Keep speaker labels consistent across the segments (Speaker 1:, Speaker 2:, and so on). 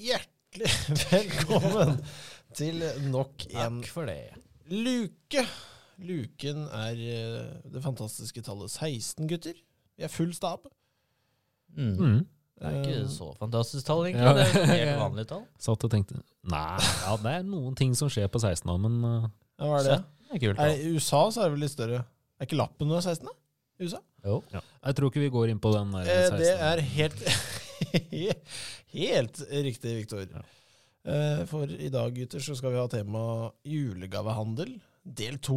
Speaker 1: Hjertelig velkommen til nok en
Speaker 2: Takk for det.
Speaker 1: luke. Luken er eh, det fantastiske tallet 16, gutter. Vi er full stab.
Speaker 2: Mm.
Speaker 3: Mm.
Speaker 2: Det er
Speaker 1: Eh,
Speaker 2: ikke så fantastisk tall,
Speaker 3: Ja.
Speaker 2: egentlig. Det er et helt vanlig tall.
Speaker 3: Satt og tenkte Nei, ja, det er noen ting som skjer på 16 da, men uh,
Speaker 1: Ja, hva er det?
Speaker 2: Det er kult.
Speaker 1: Er,
Speaker 2: tall.
Speaker 1: I USA så er det vel litt større. Er ikke lappen under 16, da? I USA?
Speaker 2: Jo.
Speaker 3: jeg tror ikke vi går inn på den der
Speaker 1: Eh,
Speaker 3: 16.
Speaker 1: det er helt Helt riktig, Viktor.
Speaker 3: Ja.
Speaker 1: Eh, for i dag, gutter, så skal vi ha tema julegavehandel, del to.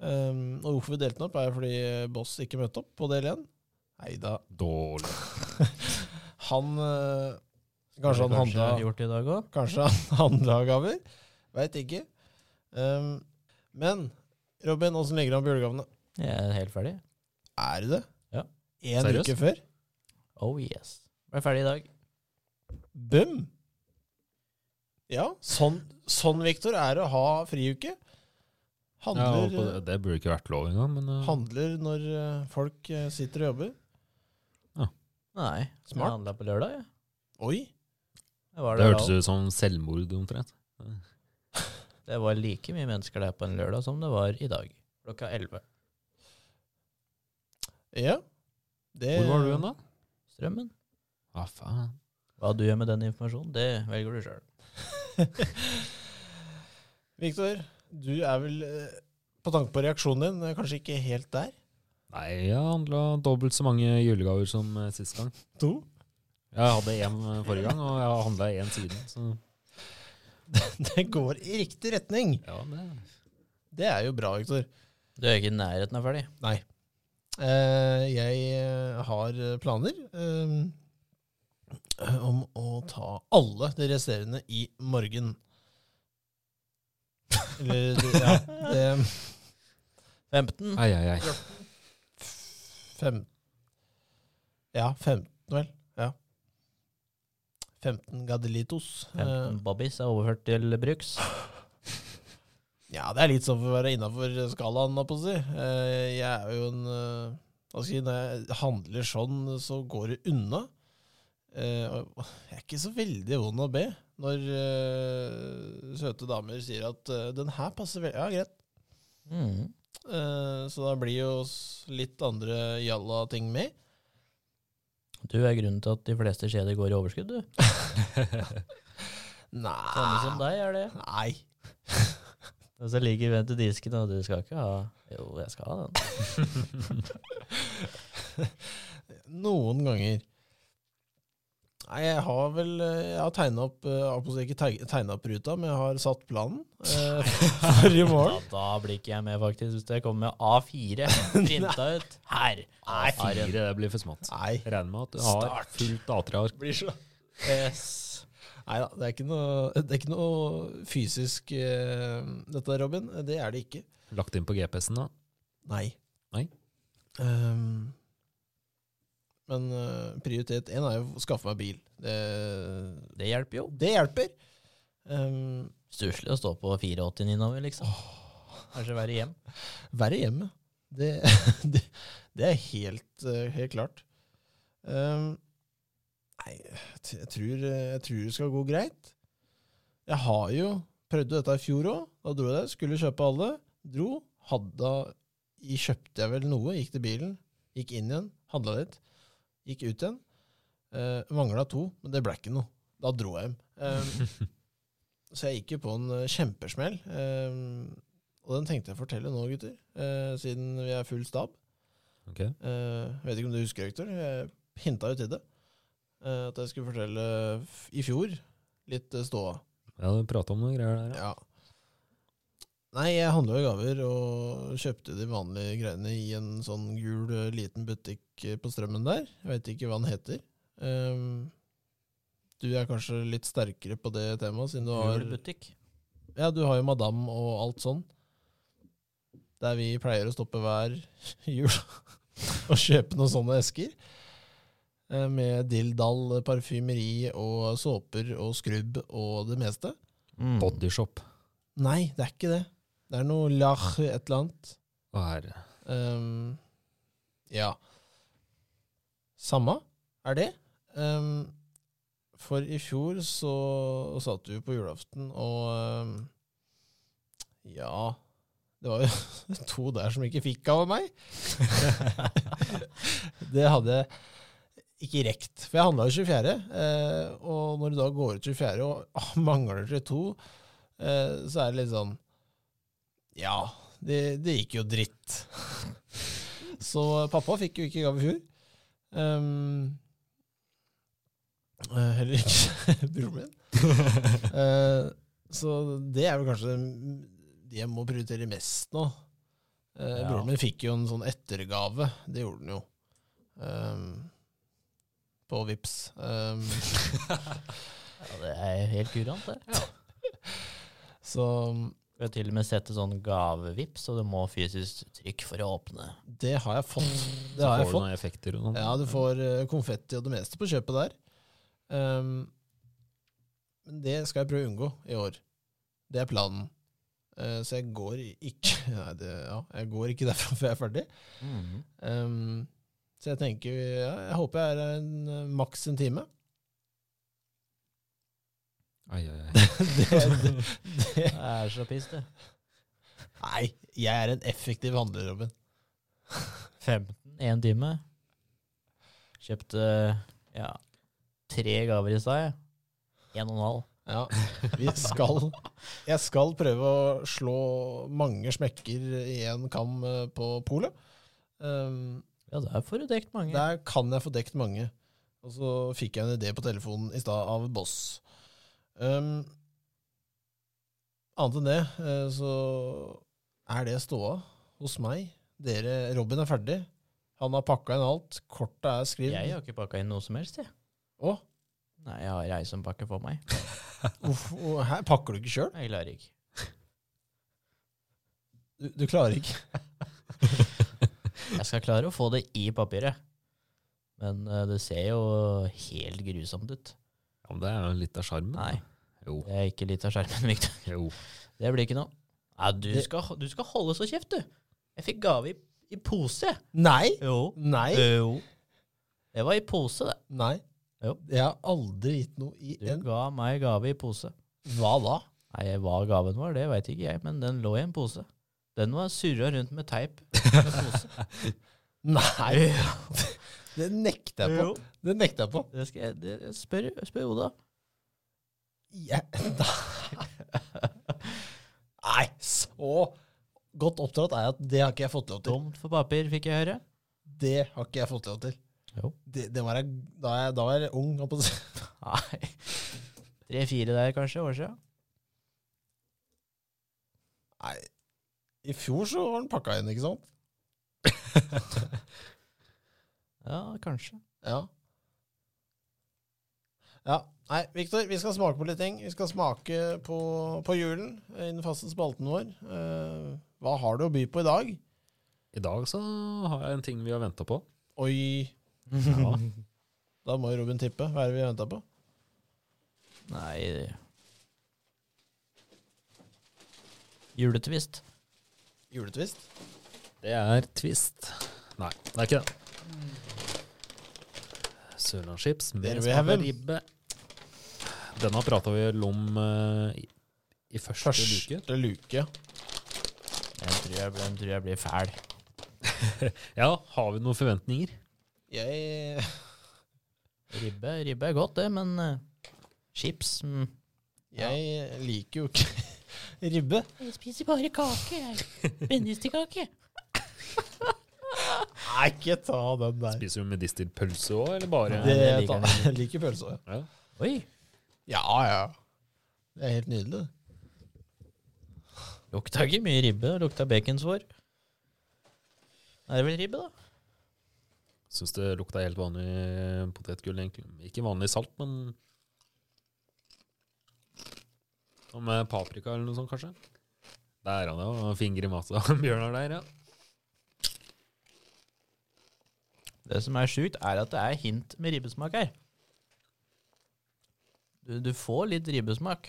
Speaker 1: Um, og hvorfor vi delte den opp, er fordi Boss ikke møtte opp på del én. Nei da.
Speaker 3: dårlig.
Speaker 1: Han eh, Kanskje han handla
Speaker 2: Gjort i dag òg.
Speaker 1: Kanskje han handla gaver? Veit ikke. Um, men Robin, åssen ligger det an på julegavene?
Speaker 2: Jeg er helt ferdig.
Speaker 1: Er det det?
Speaker 2: Ja.
Speaker 1: En
Speaker 3: Seriøst?
Speaker 1: uke før?
Speaker 2: Oh yes. Ble ferdig i dag.
Speaker 1: Bum! Ja, sånn, sånn Viktor, er det å ha friuke.
Speaker 3: Ja, og
Speaker 1: Handler, eh,
Speaker 3: på det, det burde ikke vært lov engang, men uh,
Speaker 1: handler når eh, folk eh, sitter og jobber.
Speaker 2: Nei.
Speaker 1: Smart.
Speaker 2: Jeg handla på lørdag, jeg.
Speaker 1: Oi!
Speaker 2: Jeg var
Speaker 3: det
Speaker 2: der da
Speaker 3: hørtes ut som selvmord omtrent.
Speaker 2: også. Det var like mye mennesker der på en lørdag som det var i dag. Klokka 11.
Speaker 1: Ja. Det,
Speaker 3: Hvor var du hen, da?
Speaker 2: Strømmen.
Speaker 3: Ja, faen.
Speaker 2: Hva du gjør med den informasjonen, det velger du sjøl.
Speaker 1: Viktor, du er vel, eh, på tanke på reaksjonen din, eh, kanskje ikke helt der?
Speaker 3: Nei, jeg handla dobbelt så mange julegaver som uh, sist gang.
Speaker 1: To?
Speaker 3: Jeg hadde én uh, forrige gang, og jeg har handla én siden. Så
Speaker 1: Det går i riktig retning.
Speaker 3: ja, det
Speaker 1: Det er jo bra, Viktor.
Speaker 2: Du er ikke i nærheten av ferdig.
Speaker 1: Nei. Eh, jeg eh, har planer ehm, eh, om å ta alle de resterende i morgen. Eller eh, det- ja, det
Speaker 2: 15.
Speaker 3: Ai, ai, ai.
Speaker 1: fem, Ja, 15, vel. Ja. 15 gadelitos. Eh,
Speaker 2: 15 Babbies er overført til Bruks.
Speaker 1: Ja, det er litt sånn for å være innafor skalaen, holdt på å si. Eh, Jeg er jo en eh, Hva skal jeg si, når jeg handler sånn, så går det unna. Eh, og Jeg er ikke så veldig vond å be når eh, søte damer sier at eh, 'den her passer veldig'. Ja, greit.
Speaker 2: Mm.
Speaker 1: Eh, Så da blir jo s- litt andre jalla ting med.
Speaker 2: Du er grunnen til at de fleste kjeder går i overskudd, du. Samme som
Speaker 1: Nei.
Speaker 2: deg er det.
Speaker 1: Nei.
Speaker 2: Og så ligger vi til disken, og du skal ikke ha Jo, jeg skal ha den.
Speaker 1: Noen ganger. Nei, jeg har vel eh, Jeg har tegna opp eh, jeg holdt på å si Ikke teg- tegnet opp ruta, men jeg har satt planen eh, for i
Speaker 2: Ja,
Speaker 1: morgen.
Speaker 2: da blir ikke jeg med, faktisk, hvis jeg kommer med A4 printa ut her.
Speaker 3: Fire,
Speaker 2: A4.
Speaker 3: det blir for smått.
Speaker 1: Nei.
Speaker 3: Regner med at du har
Speaker 2: Start.
Speaker 3: fullt A3-ark.
Speaker 1: Blir så
Speaker 2: Yes.
Speaker 1: Nei da, det er ikke noe, det er ikke noe fysisk eh, dette, Robin. Det er det ikke.
Speaker 3: Lagt inn på GPS-en, da.
Speaker 1: Nei.
Speaker 3: Nei.
Speaker 1: Ehm, men eh, prioritet én er jo å skaffe meg bil. Det,
Speaker 2: Det hjelper jo.
Speaker 1: det hjelper. Um,
Speaker 2: Stusslig å stå på 489 nå, liksom. Kanskje være hjem.
Speaker 1: Være hjemme. Det, det, det er helt, eh, helt klart. Ehm, nei, jeg t- jeg tror, eh, jeg tror det skal gå greit. Jeg har jo prøvd dette i fjor òg. Da dro jeg der, skulle kjøpe alle. Dro. Hadde i, Kjøpte jeg vel noe, gikk til bilen, gikk inn igjen, handla litt. Gikk ut igjen. Uh, Mangla to, men det ble ikke noe. Da dro jeg hjem. Ehm, så jeg gikk jo på en eh, kjempesmell. Ehm, og den tenkte jeg å fortelle nå, gutter, eh, siden vi er full stab.
Speaker 3: Ok.
Speaker 1: Eh, jeg vet ikke om du husker, Hector, jeg hinta jo til det. eh, at jeg skulle fortelle f i fjor litt eh, ståa.
Speaker 3: Ja, du prata om noen greier der, ja.
Speaker 1: Ja. Nei, jeg handla jo gaver og kjøpte de vanlige greiene i en sånn gul eh, liten butikk eh, på strømmen der. Jeg veit ikke hva den heter. Ehm, du er kanskje litt sterkere på det temaet, siden du har
Speaker 2: Julebutikk.
Speaker 1: ja, du har jo Madame og alt sånn. Der vi pleier å stoppe hver jul og kjøpe noen sånne esker. eh, Med dilldall, parfymeri og såper og skrubb og det meste.
Speaker 2: Mm.
Speaker 3: Bodyshop.
Speaker 1: Nei, det er ikke det. Det er noe lach et eller annet.
Speaker 3: Hva er det?
Speaker 1: Ehm, ja. Samme er det. Ehm, For i fjor så satt vi på julaften, og øhm, ja Det var jo to der som ikke fikk av meg. det hadde jeg ikke rekt, for jeg handla jo 24., eh, og når du da går ut 24 og ah, mangler 22, eh, så er det litt sånn Ja, det, det gikk jo dritt. så pappa fikk jo ikke gave i fjor. Um, Eh, Heller ikke broren min. Eh, så det er vel kanskje det jeg må prioritere mest nå. Eh,
Speaker 2: Ja.
Speaker 1: Broren min fikk jo en sånn ettergave. Det gjorde han jo. Ehm, på Vips. Ehm,
Speaker 2: Ja, det er helt kurant, det.
Speaker 1: så
Speaker 2: Vi har til og med sett en sånn gavevips, og du må fysisk trykk for å åpne.
Speaker 1: det har jeg fått. Det
Speaker 3: Så
Speaker 1: har
Speaker 3: får
Speaker 1: jeg
Speaker 3: du
Speaker 1: fått.
Speaker 3: noen effekter og noe.
Speaker 1: Ja, du får eh, konfetti og det meste på kjøpet der. Ehm, men det skal jeg prøve å unngå i år. Det er planen. Eh, så jeg går ikke Nei, det, ja, jeg går ikke derfra før jeg er ferdig. Ehm, så jeg tenker ja, Jeg håper jeg er her en, eh, maks en time.
Speaker 3: Ai, ai, ai.
Speaker 2: Det er så piss, det.
Speaker 1: Nei, jeg er en effektiv handler, Robin.
Speaker 2: 15, én time. Kjøpte ja, tre gaver i stad. jeg. En og en halv.
Speaker 1: Ja, vi skal Jeg skal prøve å slå mange smekker i en kam eh, på polet. Um,
Speaker 2: Ja, der får du dekt mange.
Speaker 1: Der kan jeg få dekt mange. Og så fikk jeg en idé på telefonen i stad av Boss. Um, annet enn det, eh, så er det ståa hos meg. Dere, Robin er ferdig. Han har pakka inn alt. Kortet er skrevet.
Speaker 2: Jeg har ikke pakka inn noe som helst, jeg.
Speaker 1: Å,
Speaker 2: Nei, jeg har ei som pakker for meg.
Speaker 1: uff, å, her pakker du ikke sjøl?
Speaker 2: Jeg klarer ikke.
Speaker 1: Du, du klarer ikke.
Speaker 2: Jeg skal klare å få det i papiret. Men eh, det ser jo helt grusomt ut.
Speaker 3: Ja, men det er jo litt av sjarmen. da.
Speaker 2: Nei,
Speaker 3: Jo.
Speaker 2: det er ikke litt av skjermen, Victor.
Speaker 3: jo.
Speaker 2: Det blir ikke noe. Nei, du
Speaker 1: Det-
Speaker 2: skal, du skal holde så kjeft, du. Jeg fikk gave i, i pose.
Speaker 1: Nei!
Speaker 2: Jo. Eh.
Speaker 1: Nei!
Speaker 2: Jo. Det var i pose, det.
Speaker 1: Nei.
Speaker 2: Jo.
Speaker 1: Jeg har aldri gitt noe i
Speaker 2: Du
Speaker 1: en
Speaker 2: ga meg gave i pose.
Speaker 1: Hva da?
Speaker 2: Nei, hva gaven var, det veit ikke jeg, men den lå i en pose. Den var surra rundt med teip.
Speaker 1: Nei! Det nekter jeg på.
Speaker 2: Jo.
Speaker 1: Det nekter jeg på.
Speaker 2: Det skal jeg, det, spør, spør Oda.
Speaker 1: Jeg- Nei, så godt oppdratt er jeg at det har ikke jeg fått lov til.
Speaker 2: Tomt for papir, fikk jeg høre.
Speaker 1: Det har ikke jeg fått lov til.
Speaker 2: Jo.
Speaker 1: Det, det var jeg, da, jeg, da var jeg ung. holdt på å si.
Speaker 2: Nei. Tre-fire der, kanskje, år siden.
Speaker 1: Nei, i fjor så var den pakka inn, ikke sant?
Speaker 2: Ja, kanskje.
Speaker 1: Ja. Ja. Nei, Viktor, vi skal smake på litt ting. Vi skal smake på, på julen eh, i den faste spalten vår. Eh, hva har du å by på i dag?
Speaker 3: I dag så har jeg en ting vi har venta på.
Speaker 1: Oi,
Speaker 3: Ja.
Speaker 1: da må jo Robin tippe. Hva er det vi venta på?
Speaker 2: Nei det- Juletvist.
Speaker 1: Juletvist?
Speaker 3: Det er Twist. Nei, det er ikke det. Sørlandschips med
Speaker 1: There we have 'em.
Speaker 3: spageribbe. Denne prata vi vel om eh, i, i første, luke.
Speaker 1: Første luke.
Speaker 2: Den tror jeg, den tror jeg blir fæl.
Speaker 3: Ja, har vi noen forventninger?
Speaker 1: Jeg
Speaker 2: Ribbe, ribbe er godt, det, men eh, chips mm.
Speaker 1: Jeg liker jo ikke ribbe.
Speaker 2: Jeg spiser bare kake, jeg. Brennestekake.
Speaker 1: Nei, ikke ta den der.
Speaker 3: Spiser du med distilpølse òg, eller bare
Speaker 1: Det,
Speaker 2: jeg liker
Speaker 1: ta,
Speaker 2: den ikke.
Speaker 1: jeg liker pølse òg.
Speaker 3: Ja.
Speaker 2: Oi,
Speaker 1: Ja, ja. Det er helt nydelig. det.
Speaker 2: lukta ikke mye ribbe. Lukta baconsvår. Er det vel ribbe, da?
Speaker 3: Syns det lukta helt vanlig potetgull, egentlig. Ikke vanlig salt, men Og med paprika eller noe sånt, kanskje? Der han er, og fingre i masa. Bjørnar der, ja.
Speaker 2: Det som er sjukt, er at det er hint med ribbesmak her. Du, du får litt ribbesmak,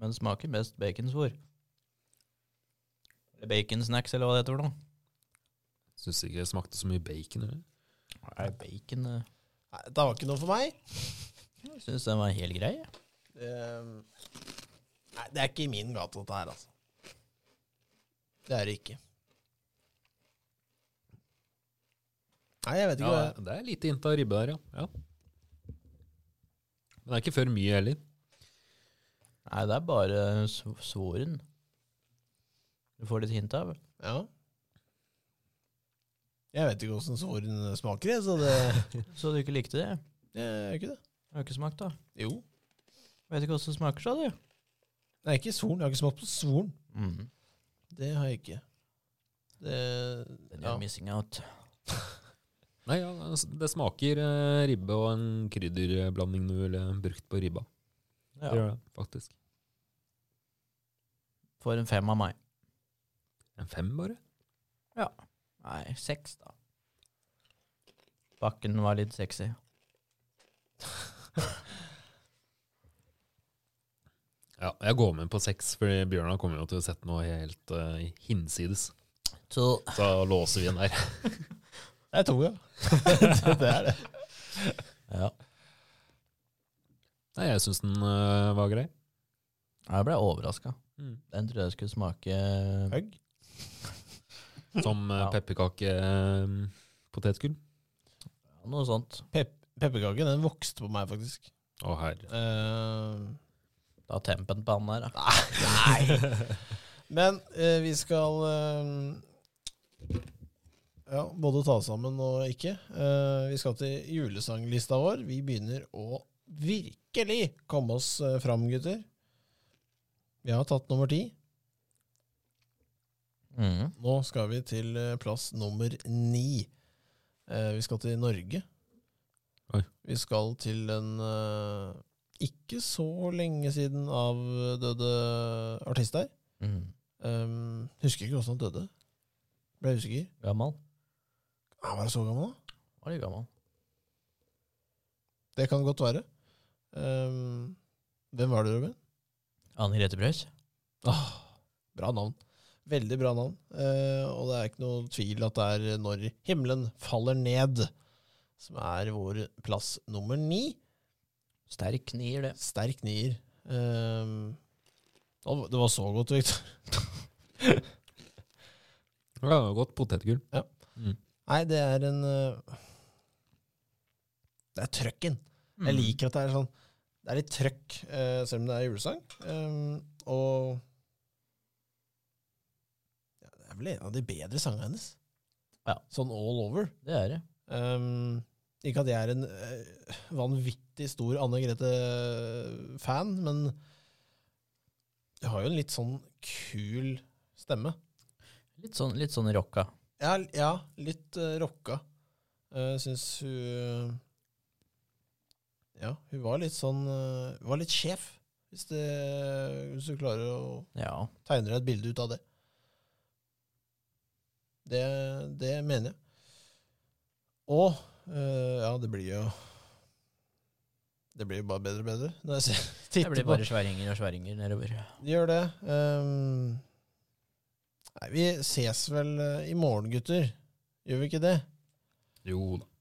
Speaker 2: men smaker best baconsvor. Eller baconsnacks, eller hva det heter for noe.
Speaker 3: Syns ikke det smakte så mye bacon. Eller?
Speaker 2: Nei, bacon eh.
Speaker 1: Nei, det var ikke noe for meg.
Speaker 2: Jeg syns den var helt grei. jeg.
Speaker 1: Det, Ehm, nei, det er ikke i min gate, dette her, altså. Det er det ikke. Nei, jeg vet ikke.
Speaker 3: Ja,
Speaker 1: hva-
Speaker 3: det er lite innta ribbe der, ja. ja. Men det er ikke for mye heller.
Speaker 2: Nei, det er bare sv- svoren. Du får litt hint av.
Speaker 1: Ja. Jeg vet ikke åssen såren smaker, jeg, så det
Speaker 2: Så du ikke likte det?
Speaker 1: Det er ikke det.
Speaker 2: Det har ikke smakt, da.
Speaker 1: Jo.
Speaker 2: Vet ikke hvordan det smaker, sa du?
Speaker 1: Nei, ikke soren. Jeg har ikke smakt på soren.
Speaker 2: Mm.
Speaker 1: Det har jeg ikke. Det
Speaker 2: Den
Speaker 1: ja.
Speaker 2: er missing out.
Speaker 3: Nei, ja, altså, det smaker eh, ribbe og en krydderblanding du ville brukt på ribba. Det
Speaker 2: Ja.
Speaker 3: gjør det, faktisk.
Speaker 2: Får en fem av meg.
Speaker 3: En fem, bare?
Speaker 2: Nei, seks, da. Bakken var litt sexy.
Speaker 3: Ja, jeg går med på seks, fordi Bjørnar kommer jo til å sette noe helt eh, hinsides.
Speaker 2: Så
Speaker 3: Så låser vi den der.
Speaker 1: Det er to, ja. det er det.
Speaker 2: ja,
Speaker 3: Nei, jeg syns den eh, var grei.
Speaker 2: jeg ble overraska. Den trodde jeg skulle smake
Speaker 1: Høgg.
Speaker 3: Som eh, uh,
Speaker 2: Ja.
Speaker 3: pepperkakepotetgull.
Speaker 2: noe sånt.
Speaker 1: Pep Pepperkaken den vokste på meg, faktisk.
Speaker 3: Å, herre.
Speaker 1: Eh,
Speaker 2: Da tempen på han der, da.
Speaker 1: Nei! Men eh, vi skal eh, ja, både ta oss sammen og ikke. Eh, vi skal til julesanglista vår. Vi begynner å virkelig komme oss eh, fram, gutter. Vi har tatt nummer ti.
Speaker 2: Mm.
Speaker 1: Nå skal vi til eh, plass nummer ni. Eh, vi skal til Norge.
Speaker 3: Oi.
Speaker 1: Vi skal til den eh, ikke så lenge siden avdøde artist her.
Speaker 2: Mm.
Speaker 1: Um, husker ikke hvordan han døde. Ble usikker.
Speaker 2: Gammel.
Speaker 1: Han var så gammel, da?
Speaker 2: Var litt gammel.
Speaker 1: Det kan godt være. Um, hvem var det, Robin?
Speaker 2: Anne Grete Preus.
Speaker 1: Bra navn. Veldig bra navn. Eh, og det er ikke noe tvil at det er Når himmelen faller ned, som er vår plass nummer ni.
Speaker 2: Sterk knier, det.
Speaker 1: Sterk nier. Um, å, det var så godt, Victor.
Speaker 3: Ja, godt potetgull.
Speaker 1: Nei, det er en eh, Det er trøkken. Jeg
Speaker 3: Mm.
Speaker 1: liker at det er sånn Det er litt trøkk, eh, selv om det er julesang. Ehm, og ja, Det er vel en av de bedre sangene hennes.
Speaker 2: Ja.
Speaker 1: Sånn all over.
Speaker 2: Det er det.
Speaker 1: Ehm, ikke at jeg er en eh, vanvittig stor Anne Grete-fan, men jeg har jo en litt sånn kul stemme.
Speaker 2: Litt sånn, litt sånn rocka.
Speaker 1: Ja, l- ja litt eh, rocka. Jeg syns hun Ja, hun var litt sånn eh, Hun var litt sjef, hvis, det, hvis du klarer å
Speaker 2: Ja.
Speaker 1: tegne deg et bilde ut av det. Det, det mener jeg. Og eh, Ja, det blir jo Det blir jo bare bedre og bedre når jeg ser,
Speaker 2: Det
Speaker 1: titter
Speaker 2: blir
Speaker 1: på
Speaker 2: bare sværinger og sværinger nedover.
Speaker 1: de gjør det. Ehm, nei, vi ses vel eh, i morgen, gutter. Gjør vi ikke det?
Speaker 3: Jo da.